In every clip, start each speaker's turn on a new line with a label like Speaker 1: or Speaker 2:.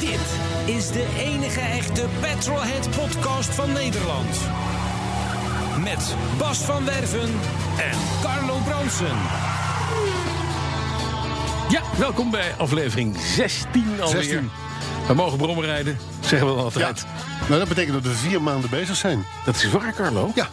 Speaker 1: Dit is de enige echte Petrolhead podcast van Nederland. Met Bas van Werven en Carlo Bronsen.
Speaker 2: Ja, welkom bij aflevering 16 alweer.
Speaker 3: 16.
Speaker 2: We mogen brommen rijden, zeggen we altijd.
Speaker 3: Nou, dat betekent dat we vier maanden bezig zijn.
Speaker 2: Dat is waar, Carlo.
Speaker 3: Ja,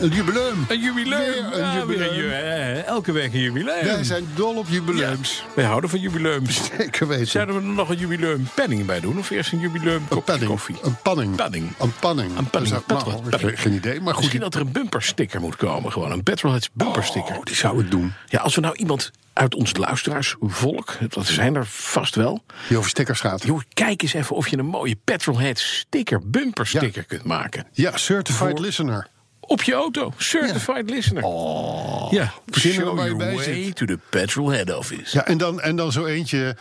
Speaker 3: een jubileum.
Speaker 2: Een jubileum.
Speaker 3: Weer een
Speaker 2: Ja,
Speaker 3: jubileum.
Speaker 2: weer een ju- eh, elke week een jubileum.
Speaker 3: Wij zijn dol op jubileums.
Speaker 2: Wij houden van jubileums.
Speaker 3: Zeker weten.
Speaker 2: Zouden we er nog een jubileum penning bij doen? Of eerst een jubileum
Speaker 3: een
Speaker 2: kopje
Speaker 3: panning.
Speaker 2: koffie?
Speaker 3: Een panning.
Speaker 2: Panning.
Speaker 3: Een panning.
Speaker 2: Een panning.
Speaker 3: Dat is-
Speaker 2: Petrol-
Speaker 3: nou,
Speaker 2: Petrol-
Speaker 3: Geen idee, maar goed.
Speaker 2: Misschien dat er een bumpersticker moet komen. Gewoon een Petrolheads bumpersticker.
Speaker 3: Oh, die zou het doen.
Speaker 2: Ja, als we nou iemand uit ons luisteraarsvolk, dat zijn er vast wel.
Speaker 3: Die over stickers gaat.
Speaker 2: Joh, kijk eens even of je een mooie Petrolhead sticker, bumper sticker kunt maken.
Speaker 3: Ja, certified
Speaker 2: Voor-
Speaker 3: listener.
Speaker 2: Op je auto, certified listener.
Speaker 3: Oh,
Speaker 2: ja,
Speaker 3: verzinnen
Speaker 2: show
Speaker 3: waar je
Speaker 2: your
Speaker 3: bij
Speaker 2: way
Speaker 3: zit.
Speaker 2: to the Petrolhead office.
Speaker 3: Ja, en dan, en dan zo eentje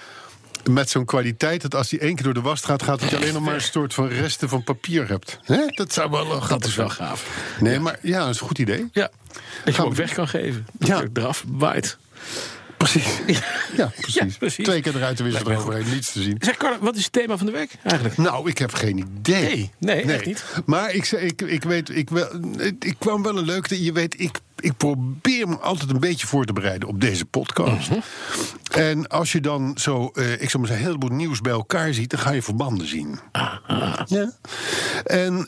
Speaker 3: met zo'n kwaliteit dat als die één keer door de was gaat, gaat dat je alleen nog maar een soort van resten van papier hebt. Hè? Dat zou wel grappig
Speaker 2: dat is wel
Speaker 3: zijn.
Speaker 2: gaaf.
Speaker 3: Nee, maar ja, dat is een goed idee.
Speaker 2: Ja, dat je hem
Speaker 3: Gaan
Speaker 2: ook
Speaker 3: we-
Speaker 2: weg kan geven. Dat
Speaker 3: Ja.
Speaker 2: je eraf waait.
Speaker 3: Precies. Ja, precies.
Speaker 2: Ja, precies.
Speaker 3: Twee keer eruit de wissel
Speaker 2: Lijkt me
Speaker 3: eroverheen, niets te zien.
Speaker 2: Zeg, Carla, wat is het thema van de week eigenlijk?
Speaker 3: Nou, ik heb geen idee.
Speaker 2: Nee, nee, echt niet.
Speaker 3: Maar ik, zei- ik, ik weet, ik, wel, ik kwam wel een leuke. Je weet, ik, ik probeer me altijd een beetje voor te bereiden op deze podcast.
Speaker 2: Mhm.
Speaker 3: En als je dan zo, eh, ik zal maar zeggen, een heleboel nieuws bij elkaar ziet, dan ga je verbanden zien.
Speaker 2: Ah,
Speaker 3: Ja. En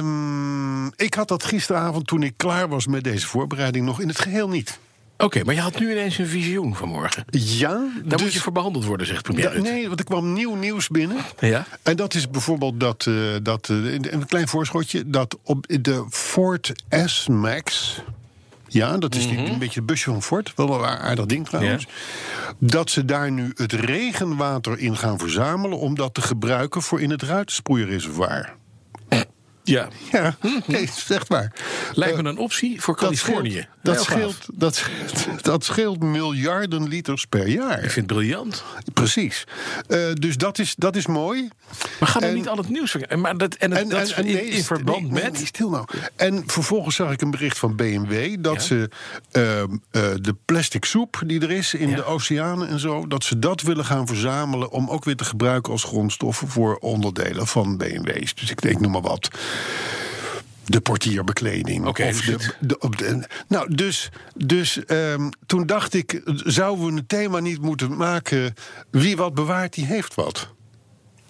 Speaker 3: ehm, ik had dat gisteravond, toen ik klaar was met deze voorbereiding, nog in het geheel niet.
Speaker 2: Oké, maar je had nu ineens een visioen vanmorgen.
Speaker 3: Ja,
Speaker 2: Daar moet je voor behandeld worden, zegt premier
Speaker 3: Da-
Speaker 2: Rutte.
Speaker 3: Dus- nee, want er kwam nieuw nieuws binnen.
Speaker 2: Ja.
Speaker 3: En dat is bijvoorbeeld dat, eh, dat eh, een- een klein voorschotje, dat op de Ford S-Max. Ja, dat is die-
Speaker 2: Mhm.
Speaker 3: een beetje het busje van Ford. Wel een a- aardig ding trouwens. Dat ze daar nu het regenwater in gaan verzamelen. om dat te gebruiken voor in het ruitensproeireservoir.
Speaker 2: Ja,
Speaker 3: Ja, nee, is echt waar.
Speaker 2: Mhm. lijkt me een optie voor
Speaker 3: Eh, Dat
Speaker 2: Californië.
Speaker 3: scheelt- Dat
Speaker 2: Heel gaaf.
Speaker 3: scheelt, dat, scheelt, dat scheelt miljarden liters per
Speaker 2: Ik
Speaker 3: jaar.
Speaker 2: vind het briljant.
Speaker 3: Precies. Eh, dus dat is, dat is mooi.
Speaker 2: Maar gaan we
Speaker 3: En-
Speaker 2: niet al het nieuws verkennen? Maar dat, en, het- dat is in,
Speaker 3: nee,
Speaker 2: in verband
Speaker 3: nee, nee,
Speaker 2: met...
Speaker 3: nee, stil nou. En vervolgens zag ik een bericht van BMW dat
Speaker 2: Ja.
Speaker 3: ze ehm, eh, de plastic soep die er is in
Speaker 2: Ja.
Speaker 3: de oceanen en zo, dat ze dat willen gaan verzamelen om ook weer te gebruiken als grondstoffen voor onderdelen van BMW's. Dus ik denk, noem maar wat. De portierbekleding.
Speaker 2: Oké, dus
Speaker 3: of de,
Speaker 2: shit.
Speaker 3: de- op de- nou, dus, dus ehm, toen dacht ik, zouden we een thema niet moeten maken? Wie wat bewaart, die heeft wat.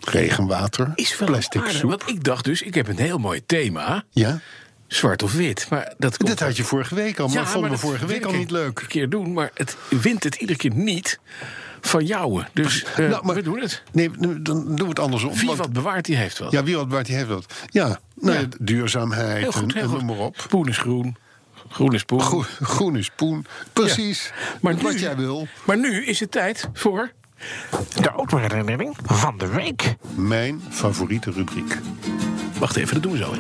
Speaker 3: Regenwater,
Speaker 2: is wel
Speaker 3: plastic
Speaker 2: aardig,
Speaker 3: soep.
Speaker 2: Want ik dacht dus, ik heb een heel mooi thema.
Speaker 3: Ja.
Speaker 2: Zwart of wit. Maar dat komt
Speaker 3: Dit had je vorige week al, maar
Speaker 2: Ja,
Speaker 3: vond me
Speaker 2: dat
Speaker 3: vorige
Speaker 2: wil
Speaker 3: week
Speaker 2: ik
Speaker 3: al
Speaker 2: een
Speaker 3: niet leuk.
Speaker 2: keer doen, maar het wint het iedere keer niet van jouwe. Dus eh,
Speaker 3: Nou, maar-
Speaker 2: we doen het.
Speaker 3: Nee, nu- dan doen we het andersom.
Speaker 2: Wie
Speaker 3: want-
Speaker 2: wat bewaart, die heeft wat.
Speaker 3: Ja, wie wat waard die heeft wat. Ja, nou,
Speaker 2: Ja.
Speaker 3: ja, duurzaamheid,
Speaker 2: heel goed,
Speaker 3: en-
Speaker 2: heel
Speaker 3: en
Speaker 2: goed.
Speaker 3: noem maar op.
Speaker 2: Poen is groen. Groen is poen.
Speaker 3: Groen, groen is poen. Precies.
Speaker 2: Maar
Speaker 3: wat
Speaker 2: nu-
Speaker 3: jij wil.
Speaker 2: Maar nu is het tijd voor...
Speaker 4: De autoherinnering van de week.
Speaker 3: Mijn favoriete rubriek.
Speaker 2: Wacht even, dat doen we zo.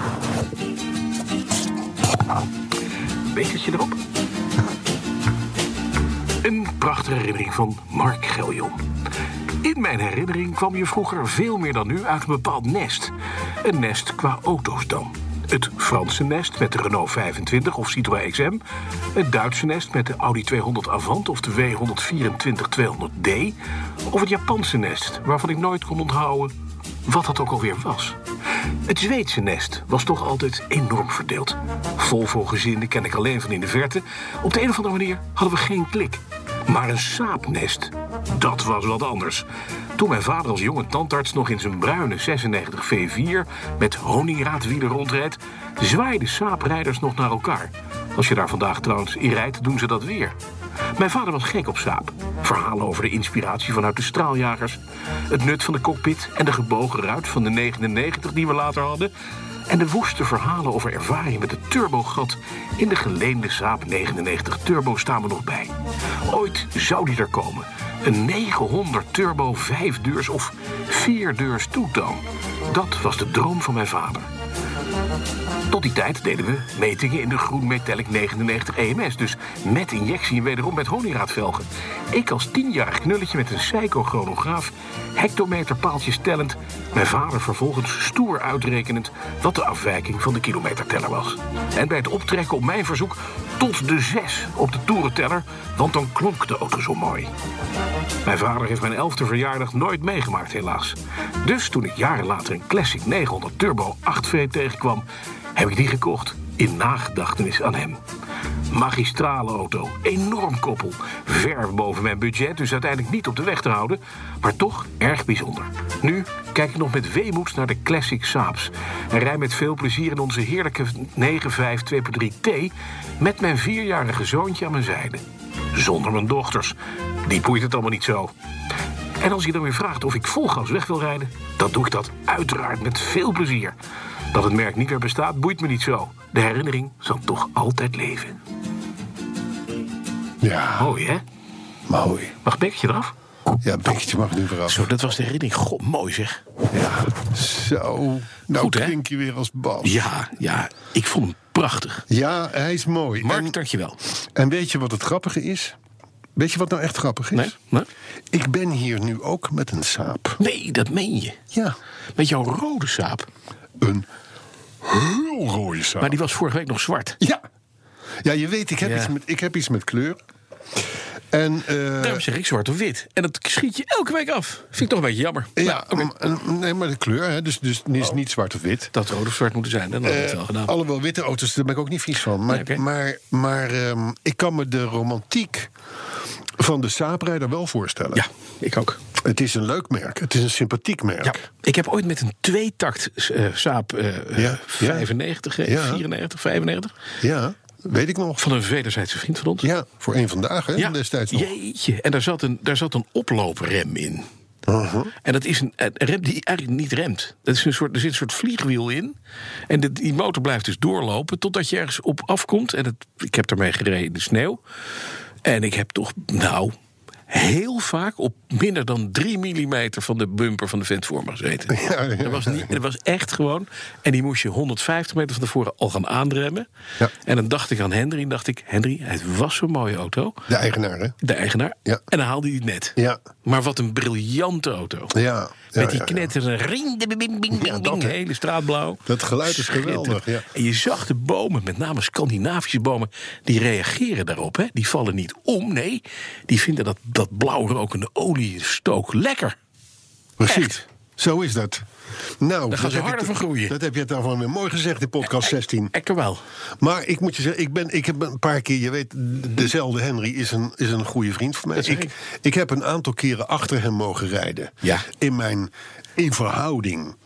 Speaker 4: Bekertje erop. Een prachtige herinnering van Mark Geljon. In mijn herinnering kwam je vroeger veel meer dan nu uit een bepaald nest. Een nest qua auto's dan. Het Franse nest met de Renault 25 of Citroën XM. Het Duitse nest met de Audi 200 Avant of de W124-200D. Of het Japanse nest, waarvan ik nooit kon onthouden wat dat ook alweer was. Het Zweedse nest was toch altijd enorm verdeeld. Volvo-gezinnen ken ik alleen van in de verte. Op de een of andere manier hadden we geen klik. Maar een saapnest, dat was wat anders. Toen mijn vader als jonge tandarts nog in zijn bruine 96 V4 met honingraadwielen rondreed, zwaaiden saaprijders nog naar elkaar. Als je daar vandaag trouwens in rijdt, doen ze dat weer. Mijn vader was gek op saap. Verhalen over de inspiratie vanuit de straaljagers, het nut van de cockpit en de gebogen ruit van de 99 die we later hadden. En de woeste verhalen over ervaring met het turbogat in de geleende Saab 99 Turbo staan we nog bij. Ooit zou die er komen. Een 900 Turbo 5 deurs of 4 deurs toetan. Dat was de droom van mijn vader. Tot die tijd deden we metingen in de Groen Metallic 99 EMS. Dus met injectie en wederom met honingraadvelgen. Ik als tienjarig knulletje met een psychochronograaf, hectometerpaaltjes tellend, mijn vader vervolgens stoer uitrekenend wat de afwijking van de kilometerteller was. En bij het optrekken op mijn verzoek tot de 6 op de toerenteller, want dan klonk de auto zo mooi. Mijn vader heeft mijn elfde verjaardag nooit meegemaakt, helaas. Dus toen ik jaren later een Classic 900 Turbo 8V tegenkwam, heb ik die gekocht. In nagedachtenis aan hem. Magistrale auto, enorm koppel, ver boven mijn budget, dus uiteindelijk niet op de weg te houden, maar toch erg bijzonder. Nu kijk ik nog met weemoed naar de Classic Saabs en rij met veel plezier in onze heerlijke 95 2.3T met mijn vierjarige zoontje aan mijn zijde zonder mijn dochters. Die boeit het allemaal niet zo. En als je dan weer vraagt of ik vol gas weg wil rijden, dan doe ik dat uiteraard met veel plezier. Dat het merk niet meer bestaat, boeit me niet zo. De herinnering zal toch altijd leven.
Speaker 3: Ja,
Speaker 4: Mooi, hè?
Speaker 3: mooi.
Speaker 4: Mag Bekkertje eraf?
Speaker 3: Oh. Ja, Bekkertje mag nu vooraf.
Speaker 2: Zo, dat was de herinnering. God, mooi zeg.
Speaker 3: Ja, zo. Nou
Speaker 2: Goed, hè?
Speaker 3: klink je weer als Bas. Ja,
Speaker 2: Ja, ja. Ik vond hem prachtig.
Speaker 3: hij is mooi.
Speaker 2: Mark,
Speaker 3: En-
Speaker 2: dankjewel.
Speaker 3: En weet je wat het grappige is? Weet je wat nou echt grappig is?
Speaker 2: Nee? Nee?
Speaker 3: Ik ben hier nu ook met een saap.
Speaker 2: nee, dat meen je.
Speaker 3: Ja.
Speaker 2: Met jouw rode saap.
Speaker 3: Een heel rode saap.
Speaker 2: Maar die was vorige week nog zwart.
Speaker 3: Ja. Ja, je weet, ik heb,
Speaker 2: Ja.
Speaker 3: iets, met, ik heb iets met kleur. En eh,
Speaker 2: Daarom zeg ik zwart of wit. En dat schiet je elke week af. Vind ik toch een beetje jammer.
Speaker 3: ja, mm, nee, maar de kleur, hè, dus, dus is niet zwart of wit.
Speaker 2: Dat had rood of zwart moeten zijn, dan had ik het
Speaker 3: Eh,
Speaker 2: wel Oh. gedaan.
Speaker 3: Alhoewel witte auto's, daar ben ik ook niet vies van. Maar,
Speaker 2: Nee, oké.
Speaker 3: maar, maar ehm, ik kan me de romantiek van de saaprijder wel voorstellen.
Speaker 2: Ja, ik ook.
Speaker 3: Het is een leuk merk. Het is een sympathiek merk.
Speaker 2: Ja. Ik heb ooit met een tweetakt eh Saab eh,
Speaker 3: Ja,
Speaker 2: 95, eh,
Speaker 3: ja.
Speaker 2: 94, 95...
Speaker 3: Ja, weet ik nog.
Speaker 2: van een wederzijdse vriend van ons.
Speaker 3: Ja, voor een vandaag, hè? Destijds nog.
Speaker 2: jeetje. En daar zat, een, daar zat een oplooprem in.
Speaker 3: Uh-huh.
Speaker 2: En dat is een, een rem die eigenlijk niet remt. Dat is een soort, er zit een soort vliegwiel in. En de- die motor blijft dus doorlopen totdat je ergens op afkomt. En het, ik heb daarmee gereden in de sneeuw. En ik heb toch, nou, heel vaak op minder dan 3 mm van de bumper van de vent voor me gezeten.
Speaker 3: Ja, ja,
Speaker 2: dat, was niet, dat was echt gewoon. En die moest je 150 meter van tevoren al gaan aandremmen.
Speaker 3: Ja.
Speaker 2: En dan dacht ik aan Henry. En dacht ik, Henry, het was zo'n mooie auto.
Speaker 3: De eigenaar, hè?
Speaker 2: De eigenaar.
Speaker 3: Ja.
Speaker 2: En dan haalde hij het net.
Speaker 3: Ja.
Speaker 2: Maar wat een briljante auto.
Speaker 3: Ja, ja,
Speaker 2: Met die
Speaker 3: ja, ja.
Speaker 2: knetterende ring, de bing, bing, bing,
Speaker 3: Ja, dat,
Speaker 2: bing,
Speaker 3: hè.
Speaker 2: hele straatblauw.
Speaker 3: Dat geluid is geweldig,
Speaker 2: Schitterend.
Speaker 3: ja.
Speaker 2: En je zag de bomen, met name Scandinavische bomen, die reageren daarop. Hè. Die vallen niet om, nee. Die vinden dat, dat blauw rokende oliestook lekker.
Speaker 3: Precies.
Speaker 2: Echt.
Speaker 3: Zo is dat. Nou,
Speaker 2: gaan ze
Speaker 3: dat heb
Speaker 2: harder
Speaker 3: je-
Speaker 2: van groeien.
Speaker 3: Dat heb je daarvan weer mooi gezegd in podcast 16.
Speaker 2: Echter wel.
Speaker 3: Maar ik moet je zeggen, ik, ben, ik heb een paar keer... Je weet, dezelfde Henry is een, is een goede vriend van mij.
Speaker 2: zeg
Speaker 3: Ik,
Speaker 2: ik.
Speaker 3: ik heb een aantal keren achter hem mogen rijden.
Speaker 2: Ja.
Speaker 3: In mijn, in verhouding,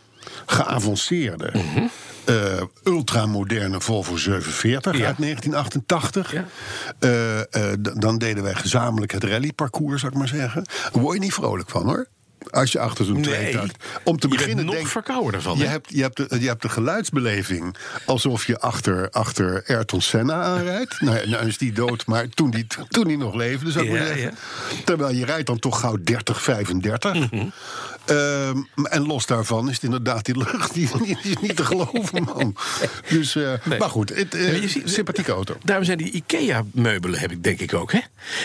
Speaker 3: geavanceerde...
Speaker 2: Mhm.
Speaker 3: eh, ultramoderne Volvo 47
Speaker 2: Ja.
Speaker 3: uit 1988.
Speaker 2: Ja.
Speaker 3: Eh, eh, d- dan deden wij gezamenlijk het rallyparcours, zou ik maar zeggen. Daar word je niet vrolijk van, hoor. Als je achter zo'n
Speaker 2: Nee.
Speaker 3: tweetakt... Om
Speaker 2: Je
Speaker 3: te
Speaker 2: bent
Speaker 3: beginnen
Speaker 2: nog
Speaker 3: denk-
Speaker 2: verkouden ervan,
Speaker 3: Je
Speaker 2: hè?
Speaker 3: hebt, je, hebt de, je hebt de geluidsbeleving alsof je achter, achter Ayrton Senna aanrijdt. nou, ja, nou is die dood, maar toen die, toen die nog leefde, zou ik maar
Speaker 2: Ja, Mhm.
Speaker 3: zeggen. Terwijl je rijdt dan toch gauw 30, 35. Ehm, en los daarvan is het inderdaad die lucht. Die, die is niet te geloven, man. Dus, eh,
Speaker 2: Nee.
Speaker 3: Maar goed, het, eh,
Speaker 2: Maar je ziet-
Speaker 3: sympathieke auto.
Speaker 2: Daarom zijn die IKEA-meubelen, heb ik denk ik ook. Hè?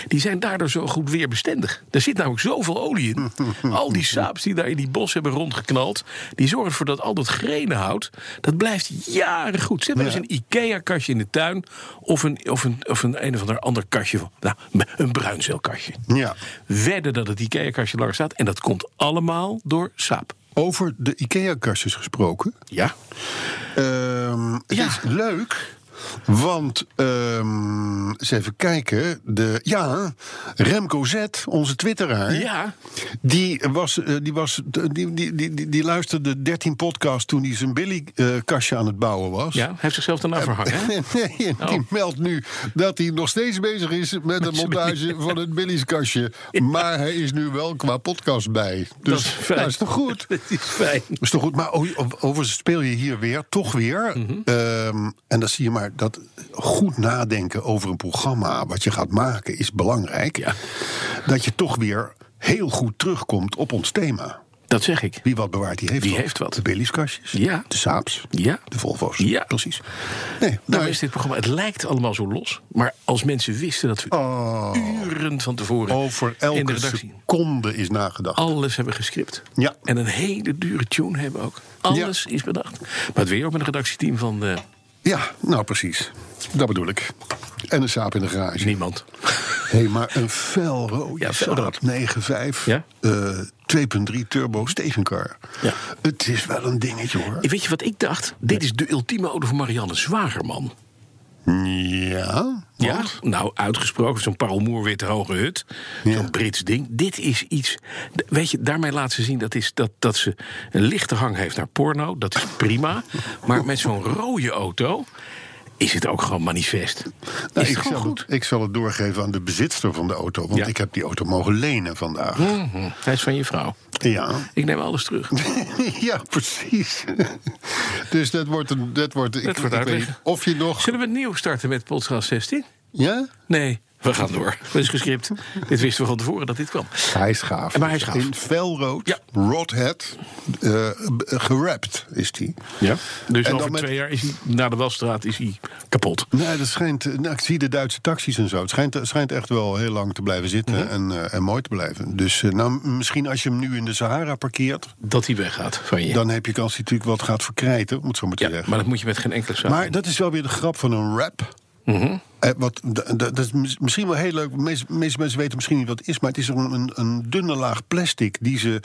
Speaker 2: Die zijn daardoor zo goed weerbestendig. Er zit namelijk zoveel olie in. Al die saaps die daar in die bos hebben rondgeknald... die zorgen ervoor dat al dat grenenhout... dat blijft jaren goed. Zet maar
Speaker 3: Ja.
Speaker 2: eens een IKEA-kastje in de tuin... of een, of een, of een, een of ander, ander kastje. van- Nou, een bruinzeelkastje.
Speaker 3: Ja.
Speaker 2: Wedden dat het IKEA-kastje langer staat. En dat komt allemaal door saap.
Speaker 3: Over de IKEA-kastjes gesproken.
Speaker 2: Ja.
Speaker 3: Ehm, het
Speaker 2: Ja.
Speaker 3: is leuk Want, ehm, eens even kijken. De, ja, Remco Z, onze twitteraar.
Speaker 2: Ja.
Speaker 3: Die, was, eh, die, was, die, die, die, die, die luisterde 13 podcasts toen hij zijn Billy-kastje aan het bouwen was.
Speaker 2: Ja, hij heeft zichzelf daarna verhangen. hè?
Speaker 3: Dus- Nee, die
Speaker 2: Oh.
Speaker 3: meldt nu dat hij nog steeds bezig is met de montage van het Billy's kastje. Maar hij is nu wel qua podcast bij.
Speaker 2: Dat
Speaker 3: Dus
Speaker 2: is
Speaker 3: dat is,
Speaker 2: fijn.
Speaker 3: toch goed?
Speaker 2: Dat is fijn.
Speaker 3: Dat is toch goed, maar o- o- overigens speel je hier weer, toch weer.
Speaker 2: Mhm.
Speaker 3: Ehm, en dan zie je maar dat goed nadenken over een programma wat je gaat maken is belangrijk.
Speaker 2: Ja.
Speaker 3: Dat je toch weer heel goed terugkomt op ons thema.
Speaker 2: Dat zeg ik.
Speaker 3: Wie wat bewaart, die heeft
Speaker 2: Die
Speaker 3: wat.
Speaker 2: heeft wat.
Speaker 3: De Billy's kastjes,
Speaker 2: Ja.
Speaker 3: de Saaps,
Speaker 2: Ja.
Speaker 3: de Volvo's.
Speaker 2: Ja.
Speaker 3: Precies. Nee,
Speaker 2: Nou
Speaker 3: nou,
Speaker 2: is dit programma, het lijkt allemaal zo los. Maar als mensen wisten dat we uren van tevoren
Speaker 3: Oh. over
Speaker 2: in de
Speaker 3: elke
Speaker 2: redactie
Speaker 3: seconde is nagedacht.
Speaker 2: alles hebben gescript.
Speaker 3: Ja.
Speaker 2: En een hele dure tune hebben ook. Alles is bedacht. Maar het weer ook met een redactieteam van eh,
Speaker 3: Ja, nou precies. Dat bedoel ik. En een saap in de garage.
Speaker 2: niemand.
Speaker 3: Hé, hey, maar een felrood
Speaker 2: Ja,
Speaker 3: ja,
Speaker 2: felrood.
Speaker 3: 9.5,
Speaker 2: Ja?
Speaker 3: eh, 2.3 turbo stationcar.
Speaker 2: Ja.
Speaker 3: Het is wel een dingetje, hoor.
Speaker 2: Weet je wat ik dacht? Dit is de ultieme ode van Marianne Zwagerman.
Speaker 3: Ja,
Speaker 2: Ja,
Speaker 3: want?
Speaker 2: nou uitgesproken, zo'n parelmoerwitte hoge hut.
Speaker 3: Ja.
Speaker 2: Zo'n Brits ding. Dit is iets. d- Weet je, daarmee laat ze zien dat, is dat, dat ze een lichte hang heeft naar porno. Dat is prima. maar met zo'n rode auto is het ook gewoon manifest.
Speaker 3: Nou,
Speaker 2: is het
Speaker 3: ik,
Speaker 2: gewoon
Speaker 3: zal
Speaker 2: goed.
Speaker 3: het, ik zal het doorgeven aan de bezitster van de auto. Want
Speaker 2: Ja.
Speaker 3: ik heb die auto mogen lenen vandaag.
Speaker 2: Mhm, Hij is van je vrouw.
Speaker 3: Ja.
Speaker 2: Ik neem alles terug.
Speaker 3: ja, precies. dus dat wordt een... Dat wordt, ik,
Speaker 2: Dat wordt
Speaker 3: ik weet
Speaker 2: uitleg.
Speaker 3: niet of je nog...
Speaker 2: Zullen we nieuw starten met podcast 16?
Speaker 3: Ja?
Speaker 2: Nee, we gaan door. Dat is gescript. dit wisten we van tevoren dat dit kwam.
Speaker 3: Hij is gaaf.
Speaker 2: Maar hij is gaaf.
Speaker 3: In felrood,
Speaker 2: Ja.
Speaker 3: rodhead, eh, b- gerapt is die.
Speaker 2: Ja. Dus
Speaker 3: En
Speaker 2: over
Speaker 3: dan met-
Speaker 2: twee jaar is hij, na de Wasstraat is hij kapot.
Speaker 3: Nee, dat schijnt. eh, Nou, ik zie de Duitse taxis en zo. Het schijnt, het schijnt echt wel heel lang te blijven zitten
Speaker 2: Mhm.
Speaker 3: en, eh, en mooi te blijven. Dus eh, nou, m- misschien als je hem nu in de Sahara parkeert,
Speaker 2: Dat hij weggaat van je.
Speaker 3: dan heb je kans dat hij natuurlijk wat gaat verkrijten, om het zo maar te
Speaker 2: Ja,
Speaker 3: zeggen.
Speaker 2: maar dat moet je met geen enkele zaak.
Speaker 3: Maar dat is wel weer de grap van een rap.
Speaker 2: Mhm.
Speaker 3: Eh, wat, d- d- dat is mis- misschien wel heel leuk. De meeste, meeste mensen weten misschien niet wat het is. Maar het is een, een, een dunne laag plastic. Die ze,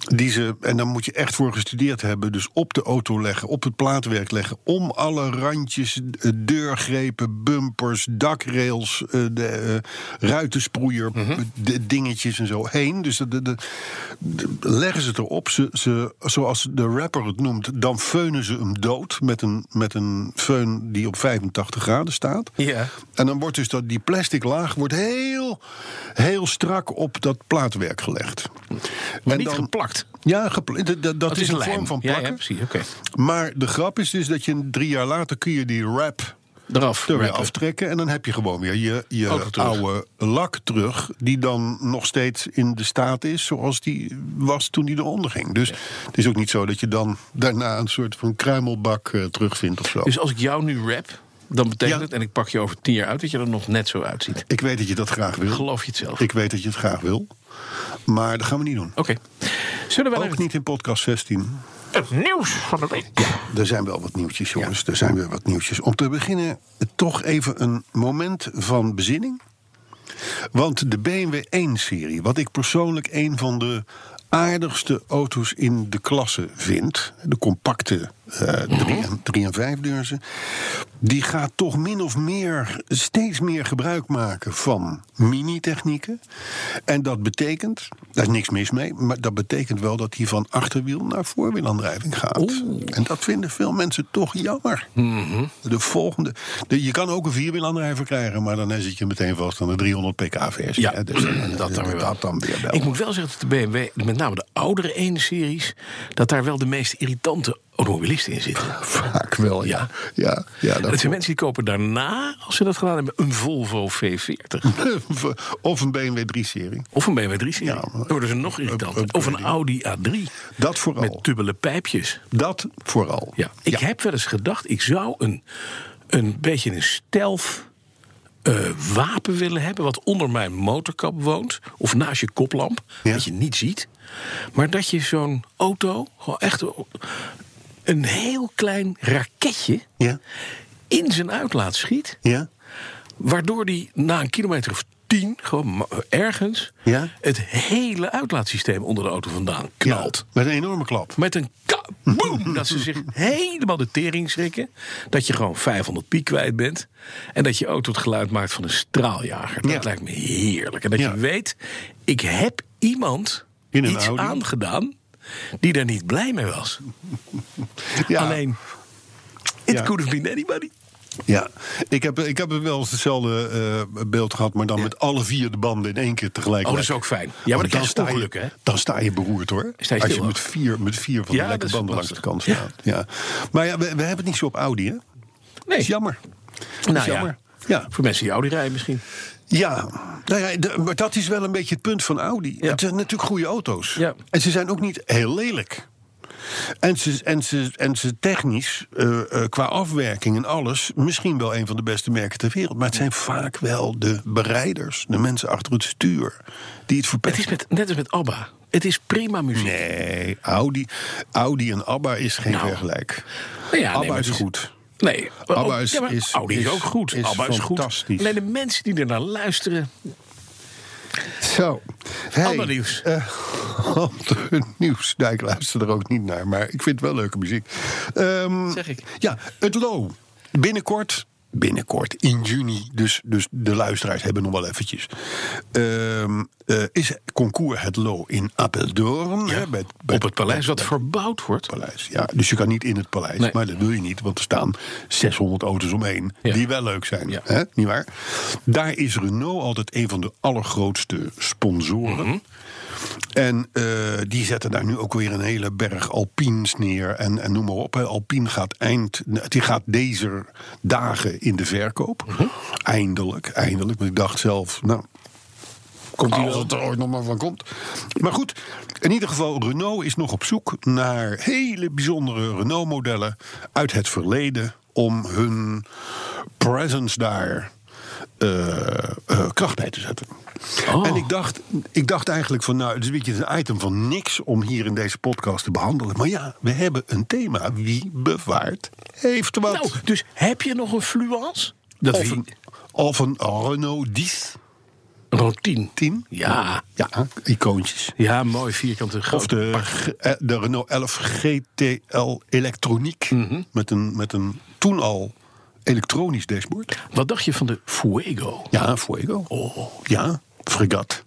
Speaker 3: die ze. En daar moet je echt voor gestudeerd hebben. Dus op de auto leggen. Op het plaatwerk leggen. Om alle randjes. eh, Deurgrepen. Bumpers. Dakrails. eh, de, eh, ruitensproeier. eh, de dingetjes en zo heen. Dus de, de, de- de- leggen ze het erop. Ze, ze, zoals de rapper het noemt. Dan feunen ze hem dood. Met een, met een feun die op 85 graden staat.
Speaker 2: Ja.
Speaker 3: En dan wordt dus dat, die plastic laag wordt heel, heel strak op dat plaatwerk gelegd.
Speaker 2: Maar
Speaker 3: en
Speaker 2: niet
Speaker 3: dan-
Speaker 2: geplakt.
Speaker 3: Ja, gepla- dat, dat, dat
Speaker 2: Dat
Speaker 3: is, een vorm van plakken.
Speaker 2: Ja, ja precies. Oké.
Speaker 3: Maar de grap is dus dat je drie jaar later kun je die wrap
Speaker 2: Eraf.
Speaker 3: er weer
Speaker 2: rappen.
Speaker 3: aftrekken. En dan heb je gewoon weer je, je
Speaker 2: Auto terug.
Speaker 3: oude lak terug. Die dan nog steeds in de staat is zoals die was toen die eronder ging. Dus het is ook niet zo dat je dan daarna een soort van kruimelbak eh, terugvindt of zo.
Speaker 2: Dus als ik jou nu rap, dan betekent
Speaker 3: Ja.
Speaker 2: het, en ik pak je over tien jaar uit, dat je er nog net zo uitziet.
Speaker 3: ik weet dat je dat graag wil.
Speaker 2: Geloof je het zelf?
Speaker 3: Ik weet dat je het graag wil. Maar dat gaan we niet doen.
Speaker 2: Oké. Zullen we
Speaker 3: Ook
Speaker 2: naar
Speaker 3: niet in podcast 16.
Speaker 2: het nieuws van de week?
Speaker 3: Er zijn wel wat nieuwtjes, jongens. Er zijn weer wat nieuwtjes. Om te beginnen eh, toch even een moment van bezinning. Want de BMW 1-serie, wat ik persoonlijk een van de aardigste auto's in de klasse vind... de compacte 3 en 5 deurzen... die gaat toch min of meer steeds meer gebruik maken van mini-technieken. En dat betekent, daar is niks mis mee... maar dat betekent wel dat hij van achterwiel naar voorwielaandrijving gaat. En dat vinden veel mensen toch jammer.
Speaker 2: Mhm.
Speaker 3: De volgende. de- je kan ook een vierwielaandrijver krijgen, maar dan zit je meteen vast aan de 300 pk-versie.
Speaker 2: Ja,
Speaker 3: hè. dus, eh,
Speaker 2: dat dan weer wel.
Speaker 3: dan weer wel.
Speaker 2: Ik moet wel zeggen dat de BMW, met name de oudere 1-series, dat daar wel de meest irritante automobilisten in zitten.
Speaker 3: Vaak wel, ja. ja. ja,
Speaker 2: Dat
Speaker 3: dat
Speaker 2: zijn mensen die kopen daarna, als ze dat gedaan hebben, een Volvo V40.
Speaker 3: of een BMW 3-serie.
Speaker 2: Of een BMW 3-serie.
Speaker 3: Ja, maar-
Speaker 2: Dan worden ze nog irritanter.
Speaker 3: Up-
Speaker 2: Of een
Speaker 3: upgrading.
Speaker 2: Audi A3.
Speaker 3: Dat vooral.
Speaker 2: Met dubbele pijpjes.
Speaker 3: Dat vooral.
Speaker 2: Ja. Ik heb wel eens gedacht, ik zou een, een beetje een stelf eh, wapen willen hebben... wat onder mijn motorkap woont, of naast je koplamp,
Speaker 3: Ja.
Speaker 2: dat je niet ziet. Maar dat je zo'n auto, gewoon echt een heel klein raketje...
Speaker 3: Ja.
Speaker 2: in zijn uitlaat schiet...
Speaker 3: Ja?
Speaker 2: Waardoor die na een kilometer of tien, gewoon ma- ergens,
Speaker 3: Ja?
Speaker 2: het hele uitlaatsysteem onder de auto vandaan knalt.
Speaker 3: Ja, Met een enorme klap.
Speaker 2: Met een ka- boem, dat ze zich helemaal de tering schrikken. Dat je gewoon 500 piek kwijt bent. En dat je auto het geluid maakt van een straaljager. Dat
Speaker 3: Ja.
Speaker 2: lijkt me heerlijk. En dat
Speaker 3: Ja.
Speaker 2: je weet, ik heb iemand
Speaker 3: In een
Speaker 2: iets
Speaker 3: Audi.
Speaker 2: aangedaan die daar niet blij mee was.
Speaker 3: Ja.
Speaker 2: Alleen, it
Speaker 3: Ja.
Speaker 2: could have been anybody.
Speaker 3: Ja, ik heb, ik heb wel eens hetzelfde eh, beeld gehad, maar dan met alle vier de banden in één keer tegelijk.
Speaker 2: Oh, dat is ook fijn. Ja, maar dan krijg je ongeluk, hè?
Speaker 3: Dan sta je beroerd, hoor.
Speaker 2: Sta je
Speaker 3: Als je
Speaker 2: stil
Speaker 3: met
Speaker 2: ook.
Speaker 3: vier, met vier van
Speaker 2: Ja,
Speaker 3: de
Speaker 2: dat
Speaker 3: lekke
Speaker 2: is
Speaker 3: banden langs de
Speaker 2: lastig.
Speaker 3: kant
Speaker 2: Ja.
Speaker 3: staat. Ja. Maar ja, we, we hebben het niet zo op Audi, hè?
Speaker 2: Nee,
Speaker 3: is jammer.
Speaker 2: Nou
Speaker 3: is
Speaker 2: ja.
Speaker 3: jammer. Ja.
Speaker 2: voor mensen die Audi rijden misschien.
Speaker 3: Ja, nou ja de- maar dat is wel een beetje het punt van Audi.
Speaker 2: Ja.
Speaker 3: Het zijn natuurlijk goede auto's.
Speaker 2: Ja.
Speaker 3: En ze zijn ook niet heel lelijk. En ze, en ze, en ze technisch, eh, eh, qua afwerking en alles, misschien wel een van de beste merken ter wereld. Maar het zijn vaak wel de bereiders, de mensen achter het stuur, die het
Speaker 2: Het
Speaker 3: verpesten.
Speaker 2: is met, net als met ABBA. Het is prima muziek.
Speaker 3: Nee, Audi, Audi en ABBA is geen
Speaker 2: Nou.
Speaker 3: vergelijk.
Speaker 2: Nou ja, nee,
Speaker 3: ABBA
Speaker 2: maar
Speaker 3: is
Speaker 2: het
Speaker 3: goed.
Speaker 2: Nee,
Speaker 3: ABBA
Speaker 2: ook-
Speaker 3: is-
Speaker 2: ja, maar
Speaker 3: is-
Speaker 2: Audi is,
Speaker 3: is-
Speaker 2: ook goed.
Speaker 3: is
Speaker 2: ABBA is goed.
Speaker 3: fantastisch.
Speaker 2: Alleen de mensen die er naar luisteren.
Speaker 3: Zo. Hey,
Speaker 2: Ander nieuws.
Speaker 3: eh, ander nieuws. Nou, ik luister er ook niet naar, maar ik vind het wel leuke muziek. Ehm,
Speaker 2: Zeg ik.
Speaker 3: Ja, het Lo. Binnenkort. Binnenkort, in juni. Dus, dus de luisteraars hebben nog wel eventjes. Ehm, eh, is concours het Lo in Apeldoorn. hè, bij, bij
Speaker 2: op het paleis wat verbouwd wordt.
Speaker 3: paleis. Ja, dus je kan niet in het paleis,
Speaker 2: Nee.
Speaker 3: maar dat wil je niet, want er staan 600 auto's omheen
Speaker 2: Ja.
Speaker 3: die wel leuk zijn.
Speaker 2: Ja.
Speaker 3: Hè? Niet waar? Daar is Renault altijd een van de allergrootste sponsoren.
Speaker 2: Mhm.
Speaker 3: En eh, die zetten daar nu ook weer een hele berg Alpines neer. En, en noem maar op. hè. Alpine gaat, eind, die gaat deze dagen in de verkoop.
Speaker 2: Mhm.
Speaker 3: Eindelijk, eindelijk. Want ik dacht zelf, nou, Komt Als het er ooit nog maar van komt. Maar goed, in ieder geval, Renault is nog op zoek naar hele bijzondere Renault-modellen uit het verleden om hun presence daar eh, eh, kracht bij te zetten. En ik dacht, ik dacht eigenlijk van, nou, het is een beetje een item van niks om hier in deze podcast te behandelen. Maar ja, we hebben een thema. Wie bewaart heeft wat?
Speaker 2: Nou, dus heb je nog een fluence?
Speaker 3: dat
Speaker 2: of
Speaker 3: of, een, of een Renault 10.
Speaker 2: Rond 10.
Speaker 3: 10?
Speaker 2: Ja.
Speaker 3: Ja, icoontjes.
Speaker 2: Ja, mooi vierkante groot.
Speaker 3: Of de, G- eh, de Renault 11 GTL elektroniek.
Speaker 2: Mhm.
Speaker 3: met, een, met een toen al elektronisch dashboard.
Speaker 2: Wat dacht je van de Fuego?
Speaker 3: Ja, Fuego.
Speaker 2: Oh.
Speaker 3: Ja, Fregat.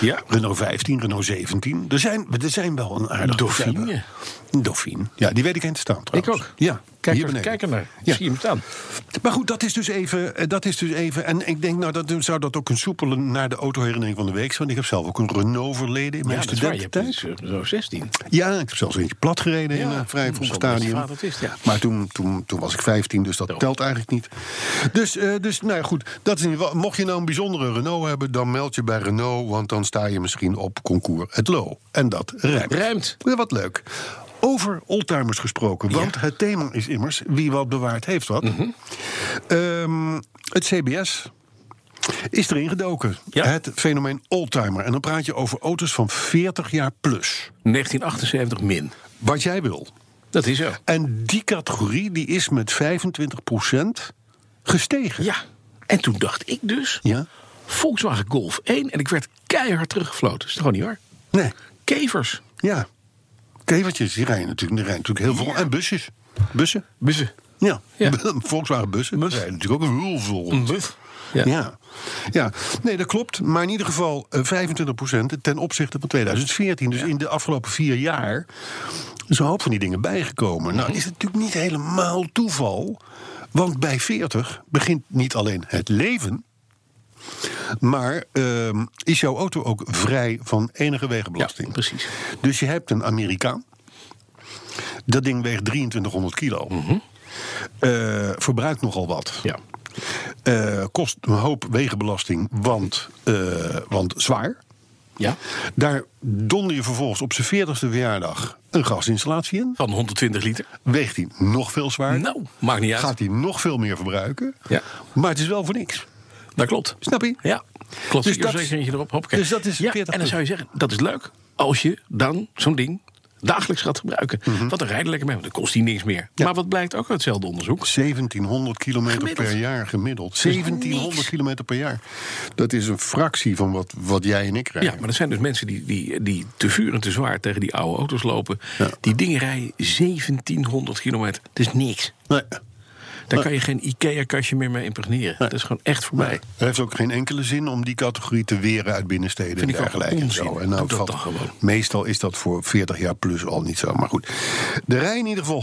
Speaker 2: Ja.
Speaker 3: Renault 15, Renault 17. Er zijn, er zijn wel een aardige
Speaker 2: Dauphine.
Speaker 3: modellen. Een Dauphine. Ja, die weet ik heen te staan trouwens.
Speaker 2: ook.
Speaker 3: Ja,
Speaker 2: Kijk,
Speaker 3: hier
Speaker 2: er,
Speaker 3: beneden.
Speaker 2: kijk ernaar. Ik
Speaker 3: Ja.
Speaker 2: Zie je hem staan?
Speaker 3: Maar goed, dat is dus even. eh, Dat is dus even en ik denk, nou, dat zou dat ook een soepele naar de autoherinnering van de week zijn. Want ik heb zelf ook een Renault verleden in mijn
Speaker 2: Ja, dat is waar. Je hebt
Speaker 3: studententijd.
Speaker 2: dus, eh, zo 16.
Speaker 3: Ja, ik heb zelfs eentje plat gereden in
Speaker 2: Ja,
Speaker 3: een vrij
Speaker 2: dat
Speaker 3: vroeg
Speaker 2: zal best
Speaker 3: stadium.
Speaker 2: vader het is, ja.
Speaker 3: Maar toen, toen, toen was ik 15, dus dat
Speaker 2: Daarom.
Speaker 3: telt eigenlijk niet. Dus, eh, dus nou ja, goed. Dat is in ieder geval- mocht je nou een bijzondere Renault hebben, dan meld je bij Renault. Want dan sta je misschien op concours het Lo. En dat ruimt.
Speaker 2: Ruimt.
Speaker 3: Ja, wat leuk. Over oldtimers gesproken, want het thema is immers wie wat bewaard heeft wat.
Speaker 2: Mhm.
Speaker 3: Ehm, het CBS is erin gedoken.
Speaker 2: Ja.
Speaker 3: Het fenomeen oldtimer. En dan praat je over auto's van 40 jaar plus.
Speaker 2: 1978 min.
Speaker 3: Wat jij wil.
Speaker 2: Dat is zo.
Speaker 3: En die categorie die is met 25% gestegen.
Speaker 2: Ja. En toen dacht ik dus...
Speaker 3: Ja?
Speaker 2: Volkswagen Golf 1. En ik werd keihard teruggefloten. Is toch gewoon niet waar?
Speaker 3: Nee.
Speaker 2: Kevers.
Speaker 3: Ja. Kevertjes, die rijden natuurlijk, die rijden natuurlijk heel veel. En busjes. Bussen.
Speaker 2: Bussen.
Speaker 3: Ja.
Speaker 2: Ja.
Speaker 3: Volkswagen bussen.
Speaker 2: Bus.
Speaker 3: Die rijden natuurlijk ook heel veel. rond.
Speaker 2: Ja.
Speaker 3: Ja. Ja. nee, dat klopt. Maar in ieder geval eh, 25% ten opzichte van 2014. Dus in de afgelopen vier jaar is een hoop van die dingen bijgekomen. Nou,
Speaker 2: Mhm.
Speaker 3: is het natuurlijk niet helemaal toeval. Want bij 40 begint niet alleen het leven. Maar ehm, is jouw auto ook vrij van enige wegenbelasting?
Speaker 2: Ja, precies.
Speaker 3: Dus je hebt een Amerikaan. Dat ding weegt 2300 kilo.
Speaker 2: Mhm.
Speaker 3: Eh, verbruikt nogal wat.
Speaker 2: Ja.
Speaker 3: Eh, kost een hoop wegenbelasting, want, eh, want zwaar.
Speaker 2: Ja.
Speaker 3: Daar donder je vervolgens op zijn 40ste verjaardag een gasinstallatie in.
Speaker 2: Van 120 liter.
Speaker 3: Weegt hij nog veel zwaarder.
Speaker 2: Nou, maakt niet uit.
Speaker 3: Gaat hij nog veel meer verbruiken.
Speaker 2: Ja.
Speaker 3: Maar het is wel voor niks.
Speaker 2: Dat klopt.
Speaker 3: Snap je?
Speaker 2: Ja. Klopt.
Speaker 3: Dus
Speaker 2: Dus
Speaker 3: dat-
Speaker 2: zeker dat je erop hoppakee.
Speaker 3: dus dat is
Speaker 2: ja,
Speaker 3: 40
Speaker 2: En dan zou je zeggen, dat is leuk. Als je dan zo'n ding dagelijks gaat gebruiken. Want dan rijden je lekker mee, want dan kost die niks meer. Maar wat blijkt ook uit hetzelfde onderzoek?
Speaker 3: 1700 kilometer
Speaker 2: Gemiddeld.
Speaker 3: per jaar gemiddeld.
Speaker 2: is
Speaker 3: 1700
Speaker 2: niks.
Speaker 3: kilometer per jaar. Dat is een fractie van wat, wat jij en ik
Speaker 2: Ja,
Speaker 3: rijden.
Speaker 2: maar dat zijn dus mensen die, die, die te vuur en te zwaar tegen die oude auto's lopen. Die dingen rijden 1700 kilometer. Dat is niks.
Speaker 3: Nee.
Speaker 2: Daar kan je geen IKEA-kastje meer mee impregneren. Dat is gewoon echt voorbij.
Speaker 3: Het heeft ook geen enkele zin om die categorie te weren uit binnensteden
Speaker 2: Vind
Speaker 3: en
Speaker 2: ik ook
Speaker 3: dergelijke. En, zo.
Speaker 2: onzin.
Speaker 3: en nou,
Speaker 2: Doe dat
Speaker 3: valt-
Speaker 2: dan gewoon.
Speaker 3: Meestal is dat voor 40 jaar plus al niet zo, maar goed. Er rijden in ieder geval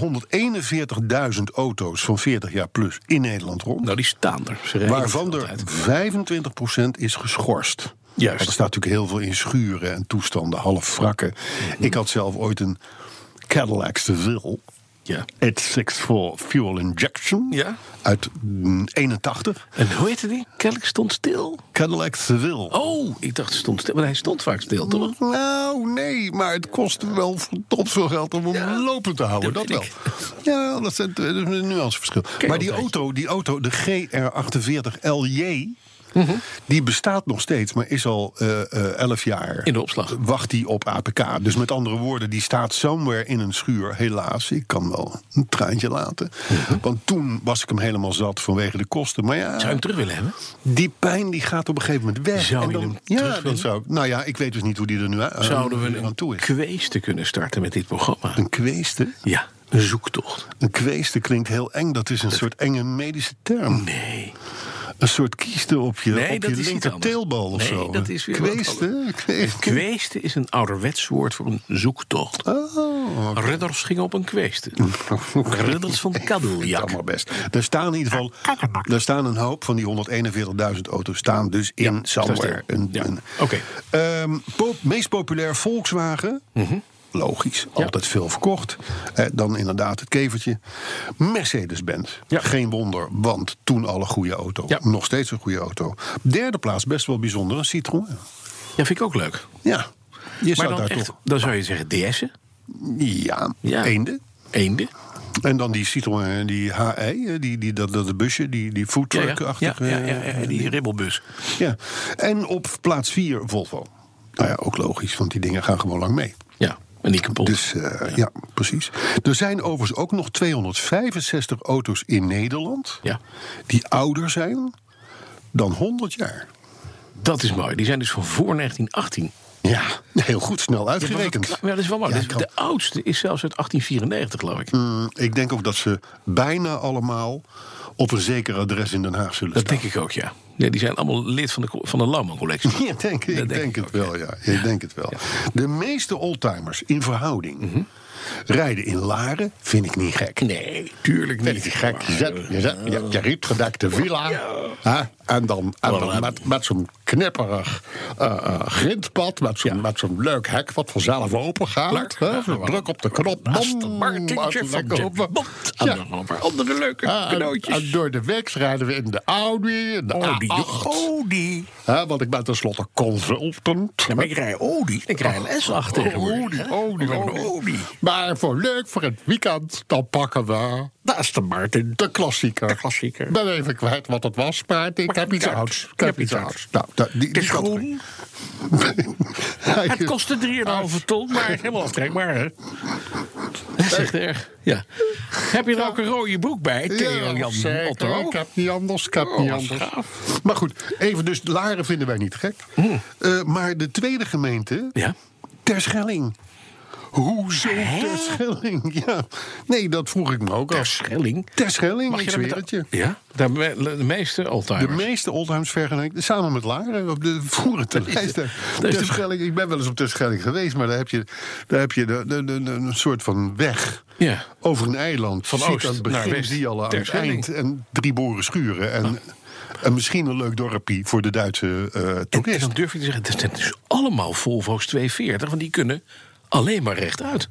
Speaker 3: 141.000 auto's van 40 jaar plus in Nederland rond.
Speaker 2: Nou, die staan er. Ze rijden
Speaker 3: waarvan er
Speaker 2: altijd.
Speaker 3: 25% is geschorst.
Speaker 2: Juist.
Speaker 3: Want Er staat natuurlijk heel veel in schuren en toestanden, half wrakken.
Speaker 2: Mhm.
Speaker 3: Ik had zelf ooit een Cadillac Seville.
Speaker 2: Ja.
Speaker 3: 864 Fuel Injection
Speaker 2: Ja.
Speaker 3: uit mm, 81.
Speaker 2: En hoe heette die? Kelk stond stil.
Speaker 3: Cadillac Seville.
Speaker 2: Oh, ik dacht stond stil. Maar hij stond vaak stil, toch?
Speaker 3: Nou, nee, maar het kost wel verdomd veel geld om hem lopend te houden. Dat,
Speaker 2: dat
Speaker 3: wel.
Speaker 2: weet
Speaker 3: Ja, dat is een dat is een nuanceverschil. Maar die
Speaker 2: altijd.
Speaker 3: auto, die auto, de GR48 LJ,
Speaker 2: Mhm.
Speaker 3: die bestaat nog steeds, maar is al eh eh, 11 jaar.
Speaker 2: In de opslag.
Speaker 3: Wacht die op APK. Dus met andere woorden, die staat somewhere in een schuur. Helaas, ik kan wel een traantje laten. Want toen was ik hem helemaal zat vanwege de kosten. Maar ja,
Speaker 2: Mhm. Zou je hem terug willen hebben?
Speaker 3: die pijn die gaat op een gegeven moment weg.
Speaker 2: Zou
Speaker 3: En
Speaker 2: je
Speaker 3: dan-
Speaker 2: hem
Speaker 3: ja,
Speaker 2: terug
Speaker 3: dan
Speaker 2: willen?
Speaker 3: zou ik, Nou ja, ik weet dus niet hoe die er nu aan,
Speaker 2: Zouden
Speaker 3: aan-
Speaker 2: we
Speaker 3: aan toe
Speaker 2: een
Speaker 3: is.
Speaker 2: kwees te kunnen starten met dit programma?
Speaker 3: Een kweeste?
Speaker 2: Ja, een zoektocht.
Speaker 3: Een kweeste klinkt heel eng. Dat is een soort enge medische term.
Speaker 2: Nee.
Speaker 3: Een soort kieste op je,
Speaker 2: Nee,
Speaker 3: op
Speaker 2: dat
Speaker 3: je
Speaker 2: is iets
Speaker 3: linker
Speaker 2: anders.
Speaker 3: teelbal of
Speaker 2: Nee,
Speaker 3: zo.
Speaker 2: dat is weer wat
Speaker 3: kweeste?
Speaker 2: Een kweeste is een ouderwets woord voor een zoektocht.
Speaker 3: Oh, oké.
Speaker 2: Ridders gingen op een kweeste. Ridders van Cadillac.
Speaker 3: allemaal best. Er staan in ieder geval er staan een hoop van die 141.000 auto's staan dus in somewhere.
Speaker 2: dat is
Speaker 3: Een,
Speaker 2: de- ja.
Speaker 3: een-
Speaker 2: Oké.
Speaker 3: Ehm, po- meest populair Volkswagen.
Speaker 2: Mhm.
Speaker 3: Logisch, altijd veel verkocht. Eh, dan inderdaad het kevertje. Mercedes-Benz.
Speaker 2: Ja.
Speaker 3: Geen wonder, want toen al een goede auto.
Speaker 2: Ja.
Speaker 3: Nog steeds een goede auto. Derde plaats, best wel bijzonder, een Citroën.
Speaker 2: Ja, vind ik ook leuk.
Speaker 3: Ja, je
Speaker 2: Maar
Speaker 3: zou
Speaker 2: dan,
Speaker 3: daar
Speaker 2: echt,
Speaker 3: toch...
Speaker 2: dan zou je zeggen DS'en,
Speaker 3: Ja,
Speaker 2: Ja.
Speaker 3: eenden.
Speaker 2: eenden.
Speaker 3: En dan die Citroën, die HI, eh, die, die, dat, dat busje, die, die
Speaker 2: Ja, ja. Ja,
Speaker 3: foodtruck-achtig.
Speaker 2: ja,
Speaker 3: eh,
Speaker 2: ja, ja, die ribbelbus.
Speaker 3: Ja, en op plaats 4 Volvo. Nou ja, ook logisch, want die dingen gaan gewoon lang mee.
Speaker 2: Ja, en die kapot.
Speaker 3: Dus eh, ja. precies. Er zijn overigens ook nog 265 auto's in Nederland
Speaker 2: Ja.
Speaker 3: die ouder zijn dan 100 jaar.
Speaker 2: dat is mooi. Die zijn dus van voor 1918.
Speaker 3: Ja, heel goed, snel uitgerekend.
Speaker 2: Ja, dat is wel mooi.
Speaker 3: Ja,
Speaker 2: Dus
Speaker 3: kan.
Speaker 2: de oudste is zelfs uit 1894, geloof ik.
Speaker 3: Mm, ik denk ook dat ze bijna allemaal op een zeker adres in Den Haag zullen
Speaker 2: Dat
Speaker 3: staan.
Speaker 2: denk ik ook, ja. ja. Die zijn allemaal lid van de, co- van de Lauwman-collectie.
Speaker 3: Ja, denk, ik
Speaker 2: Dat
Speaker 3: denk, het wel, ja. Ik denk het wel. De meeste oldtimers in verhouding rijden in Laren, vind ik niet gek.
Speaker 2: Mhm. Nee, tuurlijk
Speaker 3: Nee,
Speaker 2: niet.
Speaker 3: dat is gek.
Speaker 2: Maar,
Speaker 3: Je zet, je zet je, je rietgedekte villa. Hè? En dan, en
Speaker 2: Oh,
Speaker 3: dan met, met zo'n knipperig eh, eh, grindpad. Met zo'n, met zo'n leuk hek wat vanzelf open gaat.
Speaker 2: Leuk.
Speaker 3: hè? Zo Druk op de knop.
Speaker 2: Naast
Speaker 3: bam,
Speaker 2: Martintje
Speaker 3: uit-
Speaker 2: van
Speaker 3: lekker
Speaker 2: de
Speaker 3: open.
Speaker 2: Bond. En
Speaker 3: Ja.
Speaker 2: dan nog een paar andere leuke
Speaker 3: Eh, en,
Speaker 2: cadeautjes. Oh,
Speaker 3: en door de week rijden we in de Audi, in de
Speaker 2: Audi.
Speaker 3: A8.
Speaker 2: Audi.
Speaker 3: Hè, want ik ben tenslotte consultant.
Speaker 2: Ja, maar ik rij Audi. Ik rij een S8 tegenwoordig. hè.
Speaker 3: Audi, Audi,
Speaker 2: Ik ben een
Speaker 3: Audi.
Speaker 2: Audi.
Speaker 3: oh, Maar voor leuk voor het weekend, dan pakken we
Speaker 2: Naast de Martin.
Speaker 3: de klassieker.
Speaker 2: De klassieker.
Speaker 3: Ik ben even kwijt wat het was, maar ik
Speaker 2: Maakt
Speaker 3: heb
Speaker 2: niet
Speaker 3: iets
Speaker 2: uit.
Speaker 3: ouds. Ik
Speaker 2: Je
Speaker 3: heb
Speaker 2: hebt
Speaker 3: iets
Speaker 2: iets
Speaker 3: ouds. Nou, da- die,
Speaker 2: Het is
Speaker 3: die-
Speaker 2: groen.
Speaker 3: Hij
Speaker 2: Het
Speaker 3: is-
Speaker 2: kostte
Speaker 3: Ah.
Speaker 2: 3,5 ton, maar het is helemaal aftrekbaar, hè? Dat is echt erg. Ja. Heb je er ook een rode broek bij, Theo
Speaker 3: Ja,
Speaker 2: Jan
Speaker 3: zeker. Oh,
Speaker 2: Otto?
Speaker 3: Ik heb niet anders, ik heb
Speaker 2: Oh,
Speaker 3: niet
Speaker 2: wat
Speaker 3: anders.
Speaker 2: gaaf. Hm.
Speaker 3: Maar goed, even dus, Laren vinden wij niet gek. Eh, maar de tweede gemeente,
Speaker 2: Ja.
Speaker 3: Terschelling. Hoezo Terschelling? Ja. Nee, dat vroeg ik me ook
Speaker 2: Ter
Speaker 3: af.
Speaker 2: Schelling.
Speaker 3: Terschelling,
Speaker 2: Mag
Speaker 3: ik
Speaker 2: je dat met
Speaker 3: zweer het je.
Speaker 2: Ja? De, me- de meeste
Speaker 3: De
Speaker 2: altijd.
Speaker 3: meeste oldtimers vergelijken, samen met Laren, op de voeren te lijsten.
Speaker 2: dat is de-
Speaker 3: Terschelling, ik ben wel eens op Terschelling geweest, maar daar heb je, daar heb je de, de, de- de- een soort van weg
Speaker 2: Ja.
Speaker 3: over een eiland.
Speaker 2: Van
Speaker 3: Je ziet
Speaker 2: oost
Speaker 3: aan het
Speaker 2: naar
Speaker 3: begin
Speaker 2: west. Ah.
Speaker 3: zie je al aan het
Speaker 2: Terschelling.
Speaker 3: eind en drie boeren schuren. En, en misschien een leuk dorpje voor de Duitse eh
Speaker 2: En, en
Speaker 3: toerist.
Speaker 2: dan durf je te zeggen, dat zijn dus allemaal Volvo's 240, want die kunnen alleen maar rechtuit.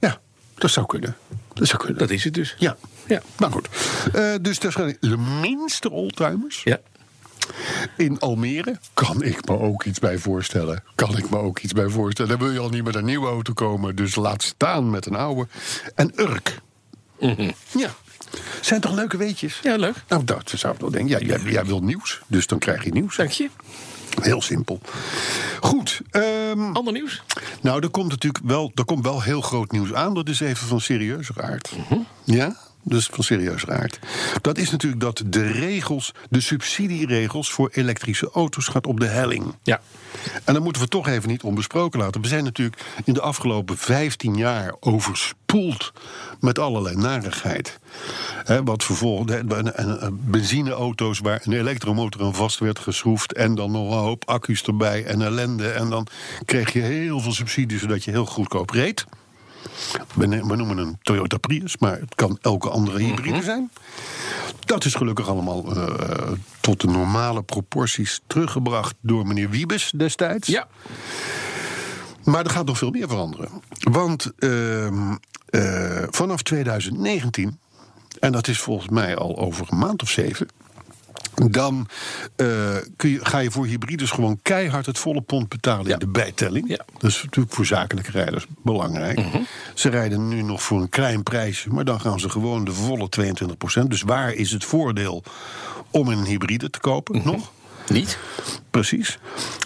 Speaker 3: Ja, dat zou kunnen. Dat zou kunnen.
Speaker 2: Dat is het dus.
Speaker 3: Ja.
Speaker 2: Ja.
Speaker 3: Nou goed. Eh, dus Terschelling, de minste oldtimers.
Speaker 2: Ja.
Speaker 3: In Almere kan ik me ook iets bij voorstellen. Kan ik me ook iets bij voorstellen. Dan wil je al niet met een nieuwe auto komen, dus laat staan met een oude. En Urk. Ja. Zijn toch leuke weetjes?
Speaker 2: Ja, leuk.
Speaker 3: Nou, dat zou ik wel denken. Ja, jij, jij wil nieuws, dus dan krijg je nieuws.
Speaker 2: Dank je.
Speaker 3: Heel simpel. Goed, ehm, Ehm,
Speaker 2: Ander nieuws?
Speaker 3: nou, er komt natuurlijk wel, er komt wel heel groot nieuws aan. Dat is even van serieuzer aard. Ja? Dus van serieuzer aard. Dat is natuurlijk dat de regels, de subsidieregels voor elektrische auto's gaat op de helling.
Speaker 2: Ja.
Speaker 3: En dat moeten we toch even niet onbesproken laten. We zijn natuurlijk in de afgelopen 15 jaar overspoeld met allerlei narigheid. Hè, wat vervolgens en- en- en benzineauto's waar een elektromotor aan vast werd geschroefd. En dan nog een hoop accu's erbij en ellende. En dan kreeg je heel veel subsidies zodat je heel goedkoop reed. We ne- we noemen een Toyota Prius, maar het kan elke andere hybride zijn. Dat is gelukkig allemaal eh, tot de normale proporties teruggebracht door meneer Wiebes destijds.
Speaker 2: Ja.
Speaker 3: Maar er gaat nog veel meer veranderen. Want ehm, eh, vanaf 2019, en dat is volgens mij al over een maand of zeven. Dan eh, kun je, ga je voor hybrides gewoon keihard het volle pond betalen
Speaker 2: Ja.
Speaker 3: in de bijtelling.
Speaker 2: Ja. Mhm.
Speaker 3: Dat is natuurlijk voor zakelijke rijders belangrijk. Ze rijden nu nog voor een klein prijsje, maar dan gaan ze gewoon de volle 22%. Dus waar is het voordeel om een hybride te kopen?
Speaker 2: Mhm.
Speaker 3: Nog?
Speaker 2: Niet?
Speaker 3: Precies.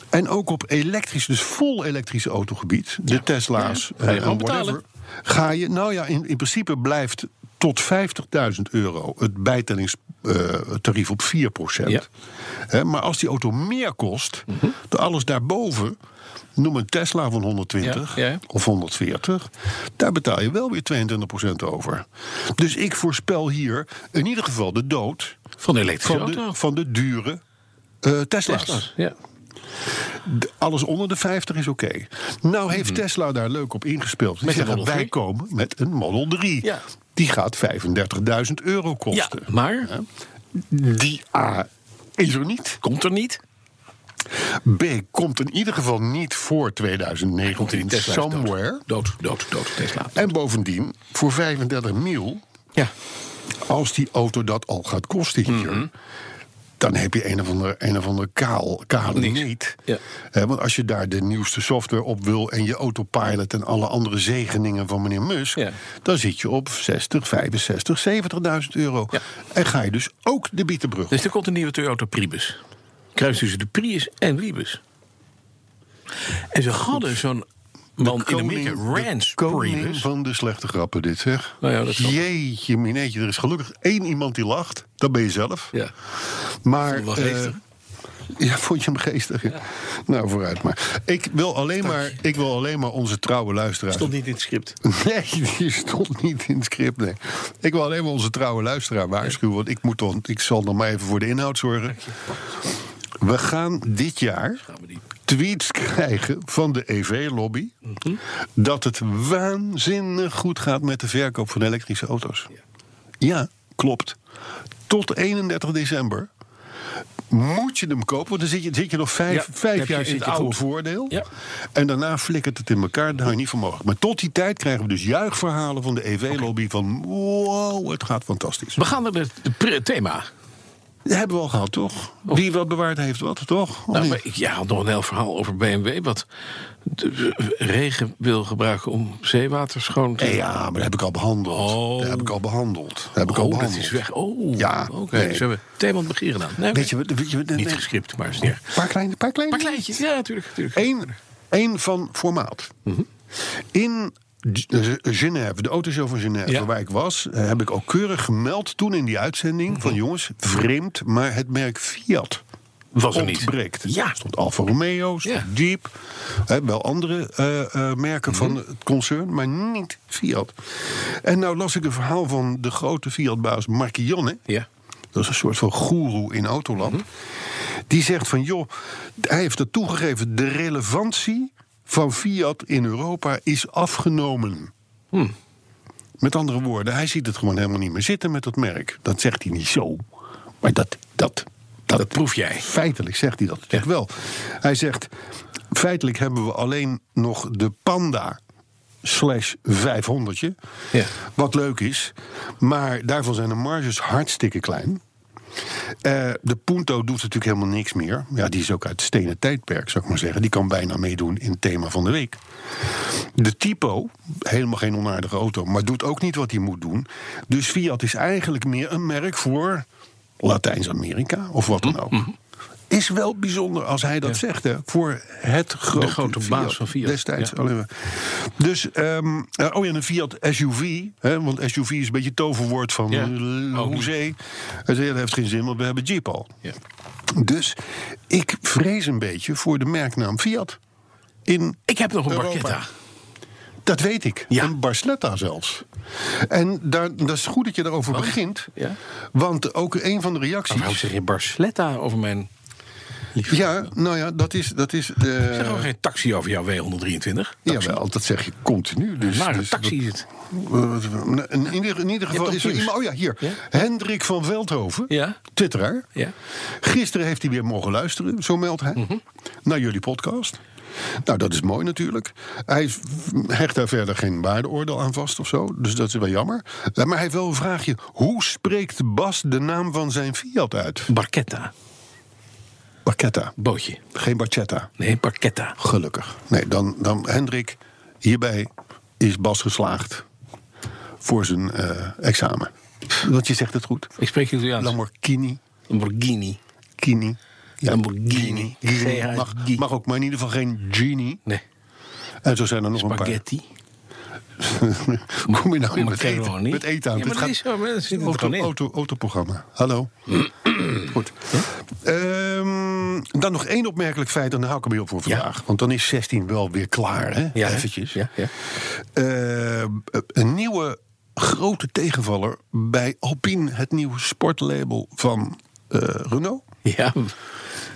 Speaker 3: En ook op elektrisch, dus vol elektrisch autogebied, de Tesla's,
Speaker 2: Ja, ga je
Speaker 3: eh,
Speaker 2: gewoon
Speaker 3: en whatever,
Speaker 2: betalen.
Speaker 3: Ga je, nou ja, in, in principe blijft tot 50.000 euro het bijtellingstarief op 4%.
Speaker 2: Ja. Mhm.
Speaker 3: Hè, maar als die auto meer kost, dan alles daarboven, noem een Tesla van 120
Speaker 2: Ja, ja.
Speaker 3: of 140, daar betaal je wel weer 22% over. Dus ik voorspel hier in ieder geval de dood
Speaker 2: Van de elektrische
Speaker 3: van de,
Speaker 2: auto.
Speaker 3: van de dure eh, Tesla's.
Speaker 2: Tesla's. Ja.
Speaker 3: De- Alles onder de 50 is oké. Nou heeft Tesla daar leuk op ingespeeld. Die
Speaker 2: Mhm. Met een
Speaker 3: zeggen,
Speaker 2: Model 3.
Speaker 3: wij komen met een Model 3.
Speaker 2: Ja.
Speaker 3: Die gaat 35.000 euro
Speaker 2: ja.
Speaker 3: kosten.
Speaker 2: Maar
Speaker 3: Die A is er niet.
Speaker 2: komt er niet.
Speaker 3: B komt in ieder geval niet voor
Speaker 2: Komt
Speaker 3: 2019
Speaker 2: die Tesla is dood.
Speaker 3: somewhere.
Speaker 2: Dood, dood, dood. Tesla.
Speaker 3: En bovendien, voor 35 mil,
Speaker 2: Ja.
Speaker 3: als die auto dat al gaat kosten hier...
Speaker 2: Mhm.
Speaker 3: Dan heb je een of ander, een of ander kaal, kale
Speaker 2: Niks.
Speaker 3: niet.
Speaker 2: Ja.
Speaker 3: Eh, want als je daar de nieuwste software op wil en je autopilot en alle andere zegeningen van meneer Musk,
Speaker 2: Ja.
Speaker 3: dan zit je op 60, 65, 70.000 euro.
Speaker 2: Ja.
Speaker 3: En ga je dus ook de Bietenbrug. op.
Speaker 2: Dus er komt een nieuwe Toyota Prius. Kruis tussen de Prius en Libus. En ze hadden zo'n man in Amerika,
Speaker 3: de
Speaker 2: Rance
Speaker 3: koning
Speaker 2: Prius.
Speaker 3: van de slechte grappen, dit zeg.
Speaker 2: Nou ja, dat zal-
Speaker 3: Jeetje, mineetje, er is gelukkig één iemand die lacht. Dat ben je zelf.
Speaker 2: Ja.
Speaker 3: Maar.
Speaker 2: Vond je hem wel
Speaker 3: eh,
Speaker 2: geestig?
Speaker 3: ja, vond je hem geestig? ja? Nou, vooruit maar. Ik wil alleen maar, ik wil alleen maar onze trouwe luisteraars.
Speaker 2: Stond niet in het script.
Speaker 3: Nee, die stond niet in het script. Nee. Ik wil alleen maar onze trouwe luisteraar waarschuwen. Want ik, moet dan, ik zal dan maar even voor de inhoud zorgen. We gaan dit jaar tweets krijgen van de EV-lobby. Dat het waanzinnig goed gaat met de verkoop van elektrische auto's. Ja, klopt. Tot 31 december moet je hem kopen. Want dan zit je, zit je nog vijf,
Speaker 2: Ja,
Speaker 3: vijf
Speaker 2: heb je-
Speaker 3: jaar in
Speaker 2: zit
Speaker 3: het
Speaker 2: je
Speaker 3: oude
Speaker 2: goed.
Speaker 3: voordeel.
Speaker 2: Ja.
Speaker 3: En daarna flikkert het in elkaar. Daar hou je niet van mogelijk. Maar tot die tijd krijgen we dus juichverhalen van de EV-lobby. Van wow, het gaat fantastisch.
Speaker 2: We gaan naar het de pre- thema.
Speaker 3: Dat hebben we al gehad, toch? Wie wat bewaard heeft, wat, toch? Of
Speaker 2: Nou,
Speaker 3: niet?
Speaker 2: maar ik, ja, had nog een heel verhaal over BMW. Wat de- eh, regen wil gebruiken om zeewater schoon te
Speaker 3: Eh, ja, maar dat heb ik al behandeld.
Speaker 2: Oh.
Speaker 3: Dat heb ik al behandeld. Dat heb ik al
Speaker 2: Oh, dat
Speaker 3: behandeld.
Speaker 2: is weg. Oh,
Speaker 3: Ja,
Speaker 2: oké.
Speaker 3: nee.
Speaker 2: Dus we hebben Theeman Begier gedaan. Nee,
Speaker 3: Weet je,
Speaker 2: oké.
Speaker 3: wat- weet je, wat-
Speaker 2: Niet
Speaker 3: nee.
Speaker 2: gescript, maar is neer.
Speaker 3: Een paar kleine, paar kleine.
Speaker 2: Maar kleintjes, ja, natuurlijk. natuurlijk.
Speaker 3: Eén, één van formaat.
Speaker 2: Mhm.
Speaker 3: In G- eh, Genève, de autoshow van Genève,
Speaker 2: Ja.
Speaker 3: waar ik was, eh, heb ik ook keurig gemeld toen in die uitzending
Speaker 2: Mhm.
Speaker 3: van jongens, vreemd, maar het merk Fiat.
Speaker 2: Was er niet.
Speaker 3: ontbreekt.
Speaker 2: Ja.
Speaker 3: Stond Alfa Romeo, stond
Speaker 2: Ja. Mhm.
Speaker 3: Jeep. hè, wel andere eh, eh, merken van het concern, maar niet Fiat. En nou las ik een verhaal van de grote Fiat-baas Marchionne.
Speaker 2: Ja. Mhm.
Speaker 3: Dat is een soort van goeroe in Autoland. Die zegt van, joh, hij heeft dat toegegeven... de relevantie van Fiat in Europa is afgenomen. Met andere woorden, hij ziet het gewoon helemaal niet meer zitten met dat merk. Dat zegt hij niet zo. Maar dat, dat, dat,
Speaker 2: Dat proef jij.
Speaker 3: Feitelijk zegt hij dat natuurlijk wel. Hij zegt, feitelijk hebben we alleen nog de Panda slash 500.
Speaker 2: Ja.
Speaker 3: Wat leuk is. Maar daarvan zijn de marges hartstikke klein. Eh, de Punto doet natuurlijk helemaal niks meer. Ja, die is ook uit het stenen tijdperk, zou ik maar zeggen. Die kan bijna meedoen in het thema van de week. De Tipo, helemaal geen onaardige auto, maar doet ook niet wat hij moet doen. Dus
Speaker 2: Mhm.
Speaker 3: Fiat is eigenlijk meer een merk voor Latijns-Amerika of wat dan ook. Is wel bijzonder als hij dat zegt, hè? Voor het grote,
Speaker 2: grote baas van Fiat.
Speaker 3: Destijds
Speaker 2: Ja.
Speaker 3: alleen maar. Dus, ehm, eh, oh ja, en een Fiat SUV. Hè, want SUV is een beetje het toverwoord van
Speaker 2: Ja,
Speaker 3: eh,
Speaker 2: ook niet.
Speaker 3: hoezee. Hij zei, ja, dat heeft geen zin, want we hebben Jeep al.
Speaker 2: Ja.
Speaker 3: Dus ik vrees een beetje voor de merknaam Fiat. In
Speaker 2: Ik heb nog een
Speaker 3: Europa.
Speaker 2: Barchetta.
Speaker 3: Dat weet ik.
Speaker 2: Ja.
Speaker 3: Een Barsletta zelfs. En daar, dat is goed dat je daarover begint.
Speaker 2: Ja.
Speaker 3: Want ook een van de reacties.
Speaker 2: Waarom zeg je Barsletta over mijn... liefde?
Speaker 3: Ja, nou ja, dat is. Dat is
Speaker 2: Ik zeg ook
Speaker 3: eh
Speaker 2: geen taxi over jouw W123.
Speaker 3: jawel, dat zeg je continu. Dus,
Speaker 2: Maar een
Speaker 3: dus
Speaker 2: taxi is het.
Speaker 3: dat- in, ieder, in ieder geval
Speaker 2: toch
Speaker 3: is er
Speaker 2: nieuws?
Speaker 3: iemand. Oh ja, hier.
Speaker 2: Ja?
Speaker 3: Hendrik van Veldhoven,
Speaker 2: Ja.
Speaker 3: twitteraar.
Speaker 2: Ja.
Speaker 3: Gisteren heeft hij weer mogen luisteren, zo meldt hij, naar jullie podcast. Nou, dat is mooi natuurlijk. Hij hecht daar verder geen waardeoordeel aan vast of zo, dus dat is wel jammer. Eh, Maar hij heeft wel een vraagje. Hoe spreekt Bas de naam van zijn Fiat uit?
Speaker 2: Barchetta.
Speaker 3: Barchetta,
Speaker 2: Bootje.
Speaker 3: geen Barchetta.
Speaker 2: Nee, Barchetta.
Speaker 3: Gelukkig. Nee, dan, dan Hendrik, hierbij is Bas geslaagd voor zijn eh, examen. Want je zegt het goed.
Speaker 2: Ik spreek Italiaans.
Speaker 3: Lamborghini.
Speaker 2: Lamborghini.
Speaker 3: Kini.
Speaker 2: Lamborghini.
Speaker 3: Gini. Mag,
Speaker 2: G-H-I.
Speaker 3: mag ook, maar in ieder geval geen genie.
Speaker 2: Nee.
Speaker 3: En zo zijn er nog
Speaker 2: Spaghetti.
Speaker 3: een paar. Kom je nou
Speaker 2: Ja,
Speaker 3: met
Speaker 2: macaroni.
Speaker 3: eten, met eten aan?
Speaker 2: Ja, maar
Speaker 3: Dit
Speaker 2: dat is zo, maar dat zit er
Speaker 3: auto,
Speaker 2: gewoon in.
Speaker 3: auto, autoprogramma. Hallo. Goed. Ehm, dan nog één opmerkelijk feit, en daar hou ik ermee op voor
Speaker 2: Ja.
Speaker 3: vandaag. Want dan is 16 wel weer klaar, hè?
Speaker 2: Ja, hè?
Speaker 3: Eventjes.
Speaker 2: Ja, ja.
Speaker 3: Eh, een nieuwe grote tegenvaller bij Alpine, het nieuwe sportlabel van eh, Renault.
Speaker 2: Ja.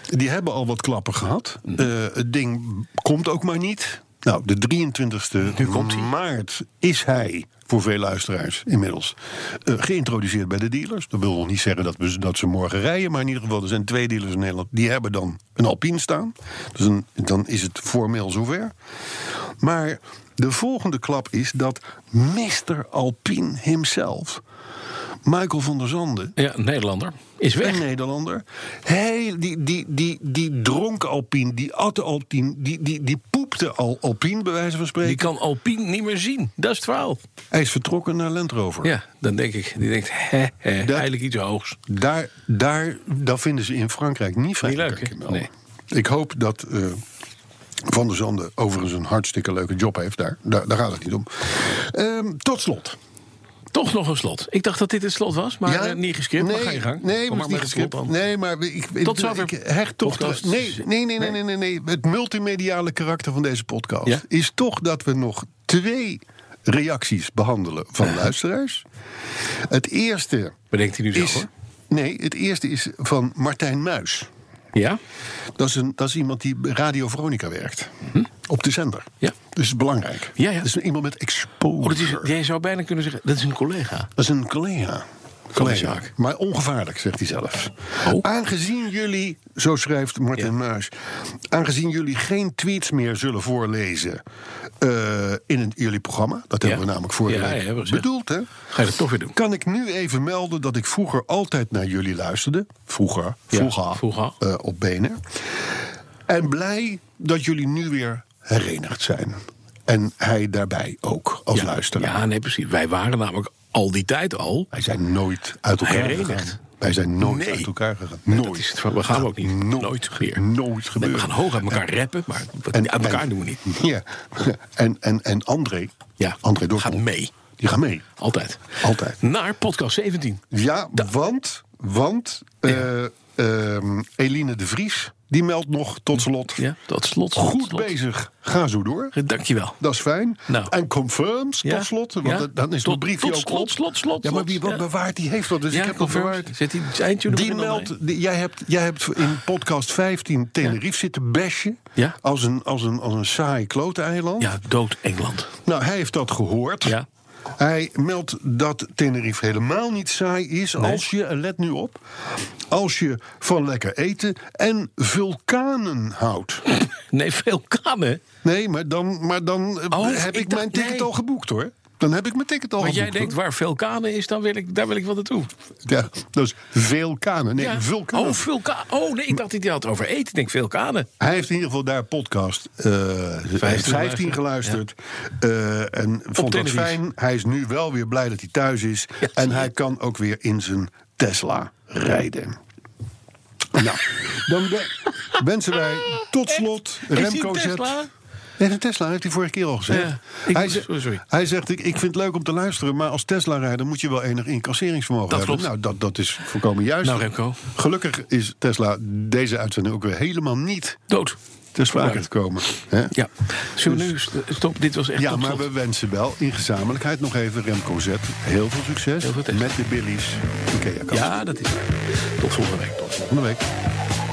Speaker 3: Die hebben al wat klappen gehad. Eh, het ding komt ook maar niet. Nou, de 23e maart is hij, voor veel luisteraars inmiddels, eh, geïntroduceerd bij de dealers. Dat wil nog niet zeggen dat, we, dat ze morgen rijden, maar in ieder geval, er zijn twee dealers in Nederland die hebben dan een Alpine staan. Dus een- dan is het formeel zover. Maar de volgende klap is dat Mr. Alpine himself, Michael van der Zanden,
Speaker 2: Ja, Nederlander. Is weg.
Speaker 3: een Nederlander. Hij, die, die, die, die dronk Alpine, die at Alpine, die, die, die poepte al Alpine, bij wijze van
Speaker 2: Die
Speaker 3: spreken.
Speaker 2: kan Alpine niet meer zien. Dat is het verhaal.
Speaker 3: Hij is vertrokken naar Land Rover.
Speaker 2: Ja, dan denk ik. Die denkt, hè, hè, eigenlijk iets hoogs.
Speaker 3: Daar, daar, dat vinden ze in Frankrijk niet fijn.
Speaker 2: Niet leuk,
Speaker 3: kan ik
Speaker 2: hè?
Speaker 3: je melden.
Speaker 2: Nee.
Speaker 3: Ik hoop dat eh, Van der Zanden overigens een hartstikke leuke job heeft daar. Daar, daar gaat het niet om. Ehm, tot slot.
Speaker 2: Toch nog een slot. Ik dacht dat dit het slot was, maar
Speaker 3: Ja?
Speaker 2: eh, niet geskipt.
Speaker 3: Nee,
Speaker 2: maar ga je gang.
Speaker 3: Nee,
Speaker 2: Kom
Speaker 3: maar,
Speaker 2: maar
Speaker 3: niet
Speaker 2: met het slot
Speaker 3: geskipt.
Speaker 2: dan.
Speaker 3: Nee, maar ik, ik,
Speaker 2: Tot zover.
Speaker 3: ik hecht toch...
Speaker 2: Podcast.
Speaker 3: de- nee, nee, nee, nee, nee, nee, nee. Het multimediale karakter van deze podcast...
Speaker 2: Ja?
Speaker 3: is toch dat we nog twee reacties behandelen van luisteraars. Het eerste
Speaker 2: Bedenkt hij nu zelf,
Speaker 3: is...
Speaker 2: hoor.
Speaker 3: Nee, het eerste is van Martijn Muis.
Speaker 2: Ja?
Speaker 3: Dat is, een, dat is iemand die bij Radio Veronica werkt. Op de zender.
Speaker 2: Mhm. Ja.
Speaker 3: Dus belangrijk.
Speaker 2: Ja, ja.
Speaker 3: Dat is iemand met exposure.
Speaker 2: Oh, dat is, jij zou bijna kunnen zeggen, dat is een collega.
Speaker 3: Dat is een collega.
Speaker 2: de
Speaker 3: Collega.
Speaker 2: zaak.
Speaker 3: Maar ongevaarlijk, zegt hij zelf.
Speaker 2: Oh.
Speaker 3: Aangezien jullie, zo schrijft Martin
Speaker 2: Ja.
Speaker 3: Maas, aangezien jullie geen tweets meer zullen voorlezen eh, in het- jullie programma, dat
Speaker 2: Ja.
Speaker 3: hebben we namelijk vorige
Speaker 2: Ja, ja,
Speaker 3: week
Speaker 2: hebben we gezegd.
Speaker 3: bedoeld, hè?
Speaker 2: Ga je dat toch weer doen?
Speaker 3: Kan ik nu even melden dat ik vroeger altijd naar jullie luisterde? Vroeger,
Speaker 2: Ja,
Speaker 3: vroeger,
Speaker 2: vroeger.
Speaker 3: eh, op benen. En blij dat jullie nu weer herenigd zijn. En hij daarbij ook als
Speaker 2: ja.
Speaker 3: luisteraar.
Speaker 2: Ja, nee, precies. Wij waren namelijk al die tijd al.
Speaker 3: Wij zijn nooit uit elkaar
Speaker 2: Herenigd.
Speaker 3: gegaan. Wij zijn nooit
Speaker 2: Nee.
Speaker 3: uit elkaar gegaan.
Speaker 2: Nee,
Speaker 3: Nooit.
Speaker 2: dat is het verhaal. We gaan ook niet.
Speaker 3: Nooit,
Speaker 2: Nooit meer.
Speaker 3: Nooit
Speaker 2: Nee,
Speaker 3: gebeuren.
Speaker 2: we gaan hoog uit elkaar rappen, maar wat- uit elkaar doen we niet.
Speaker 3: Ja. En, en, en André.
Speaker 2: Ja,
Speaker 3: André Dortmund.
Speaker 2: gaat mee.
Speaker 3: Die gaat mee.
Speaker 2: Altijd.
Speaker 3: Altijd.
Speaker 2: Naar podcast 17.
Speaker 3: Ja, want, want eh, ehm, Eline de Vries, die meldt nog tot slot.
Speaker 2: Ja, dat slot. slot,
Speaker 3: Goed
Speaker 2: slot.
Speaker 3: bezig, ga zo door.
Speaker 2: Dankjewel.
Speaker 3: Dat is fijn.
Speaker 2: Nou.
Speaker 3: En confirms,
Speaker 2: Ja.
Speaker 3: tot slot. Want
Speaker 2: Ja.
Speaker 3: dat- dan is
Speaker 2: Tot-
Speaker 3: de briefje
Speaker 2: tot
Speaker 3: ook
Speaker 2: slot,
Speaker 3: op.
Speaker 2: slot, slot,
Speaker 3: Ja, maar wie
Speaker 2: slot.
Speaker 3: wat
Speaker 2: Ja.
Speaker 3: bewaart, die heeft dat. Dus
Speaker 2: Ja,
Speaker 3: ik heb dat
Speaker 2: confirms.
Speaker 3: bewaard.
Speaker 2: Zet die eindtune
Speaker 3: Die
Speaker 2: erin dan
Speaker 3: meldt, die- jij, hebt, jij hebt in podcast 15 Tenerife zitten bashen.
Speaker 2: Ja.
Speaker 3: Als, een, als, een, als een saai klote eiland.
Speaker 2: Ja, dood Engeland.
Speaker 3: Nou, hij heeft dat gehoord.
Speaker 2: Ja.
Speaker 3: Hij meldt dat Tenerife helemaal niet saai is als je, en let nu op, als je van lekker eten en vulkanen houdt.
Speaker 2: Nee, veel kanen.
Speaker 3: Nee, maar dan, maar dan eh,
Speaker 2: Oh,
Speaker 3: heb
Speaker 2: ik
Speaker 3: ik,
Speaker 2: dacht-
Speaker 3: mijn ticket
Speaker 2: nee.
Speaker 3: al geboekt hoor. Dan heb ik mijn ticket al
Speaker 2: Maar jij
Speaker 3: geboekt.
Speaker 2: denkt, waar veel kanen is, dan wil ik, daar wil ik wel naartoe.
Speaker 3: hoor. Ja, dus vulkanen. Nee,
Speaker 2: Ja.
Speaker 3: vulkanen.
Speaker 2: Oh, vulkaan. Oh, nee, ik dacht dat hij had over eten. Ik denk, veel kanen.
Speaker 3: Hij heeft in ieder geval daar podcast eh 15, geluisterd. Eh, en vond dat
Speaker 2: Tenerife.
Speaker 3: fijn. Hij is nu wel weer blij dat hij thuis is.
Speaker 2: Ja,
Speaker 3: en
Speaker 2: zie
Speaker 3: hij kan ook weer in zijn Tesla rijden. Nou, dan we- wensen wij tot slot
Speaker 2: hij
Speaker 3: Remco
Speaker 2: een
Speaker 3: Zet.
Speaker 2: Tesla?
Speaker 3: Nee, een Tesla heeft hij vorige keer al gezegd.
Speaker 2: Ja, ik-
Speaker 3: hij, zegt,
Speaker 2: sorry, sorry.
Speaker 3: hij zegt, ik, ik vind het leuk om te luisteren... maar als Tesla-rijder moet je wel enig incasseringsvermogen
Speaker 2: Dat
Speaker 3: hebben.
Speaker 2: klopt.
Speaker 3: Nou, dat, dat is volkomen juist.
Speaker 2: Nou, Remco.
Speaker 3: Gelukkig is Tesla deze uitzending ook weer helemaal niet
Speaker 2: Dood.
Speaker 3: ter sprake
Speaker 2: Vooruit.
Speaker 3: gekomen. hè?
Speaker 2: Ja. Zullen we nu st- stop? Dit was echt
Speaker 3: Dus- Ja,
Speaker 2: tot
Speaker 3: maar
Speaker 2: slot.
Speaker 3: we wensen wel in gezamenlijkheid nog even Remco Zet heel veel succes
Speaker 2: Heel veel Tesla.
Speaker 3: met de Billies. Oké, ja, kan.
Speaker 2: Ja, dat is waar. Tot volgende week. Tot volgende
Speaker 3: Volgende week.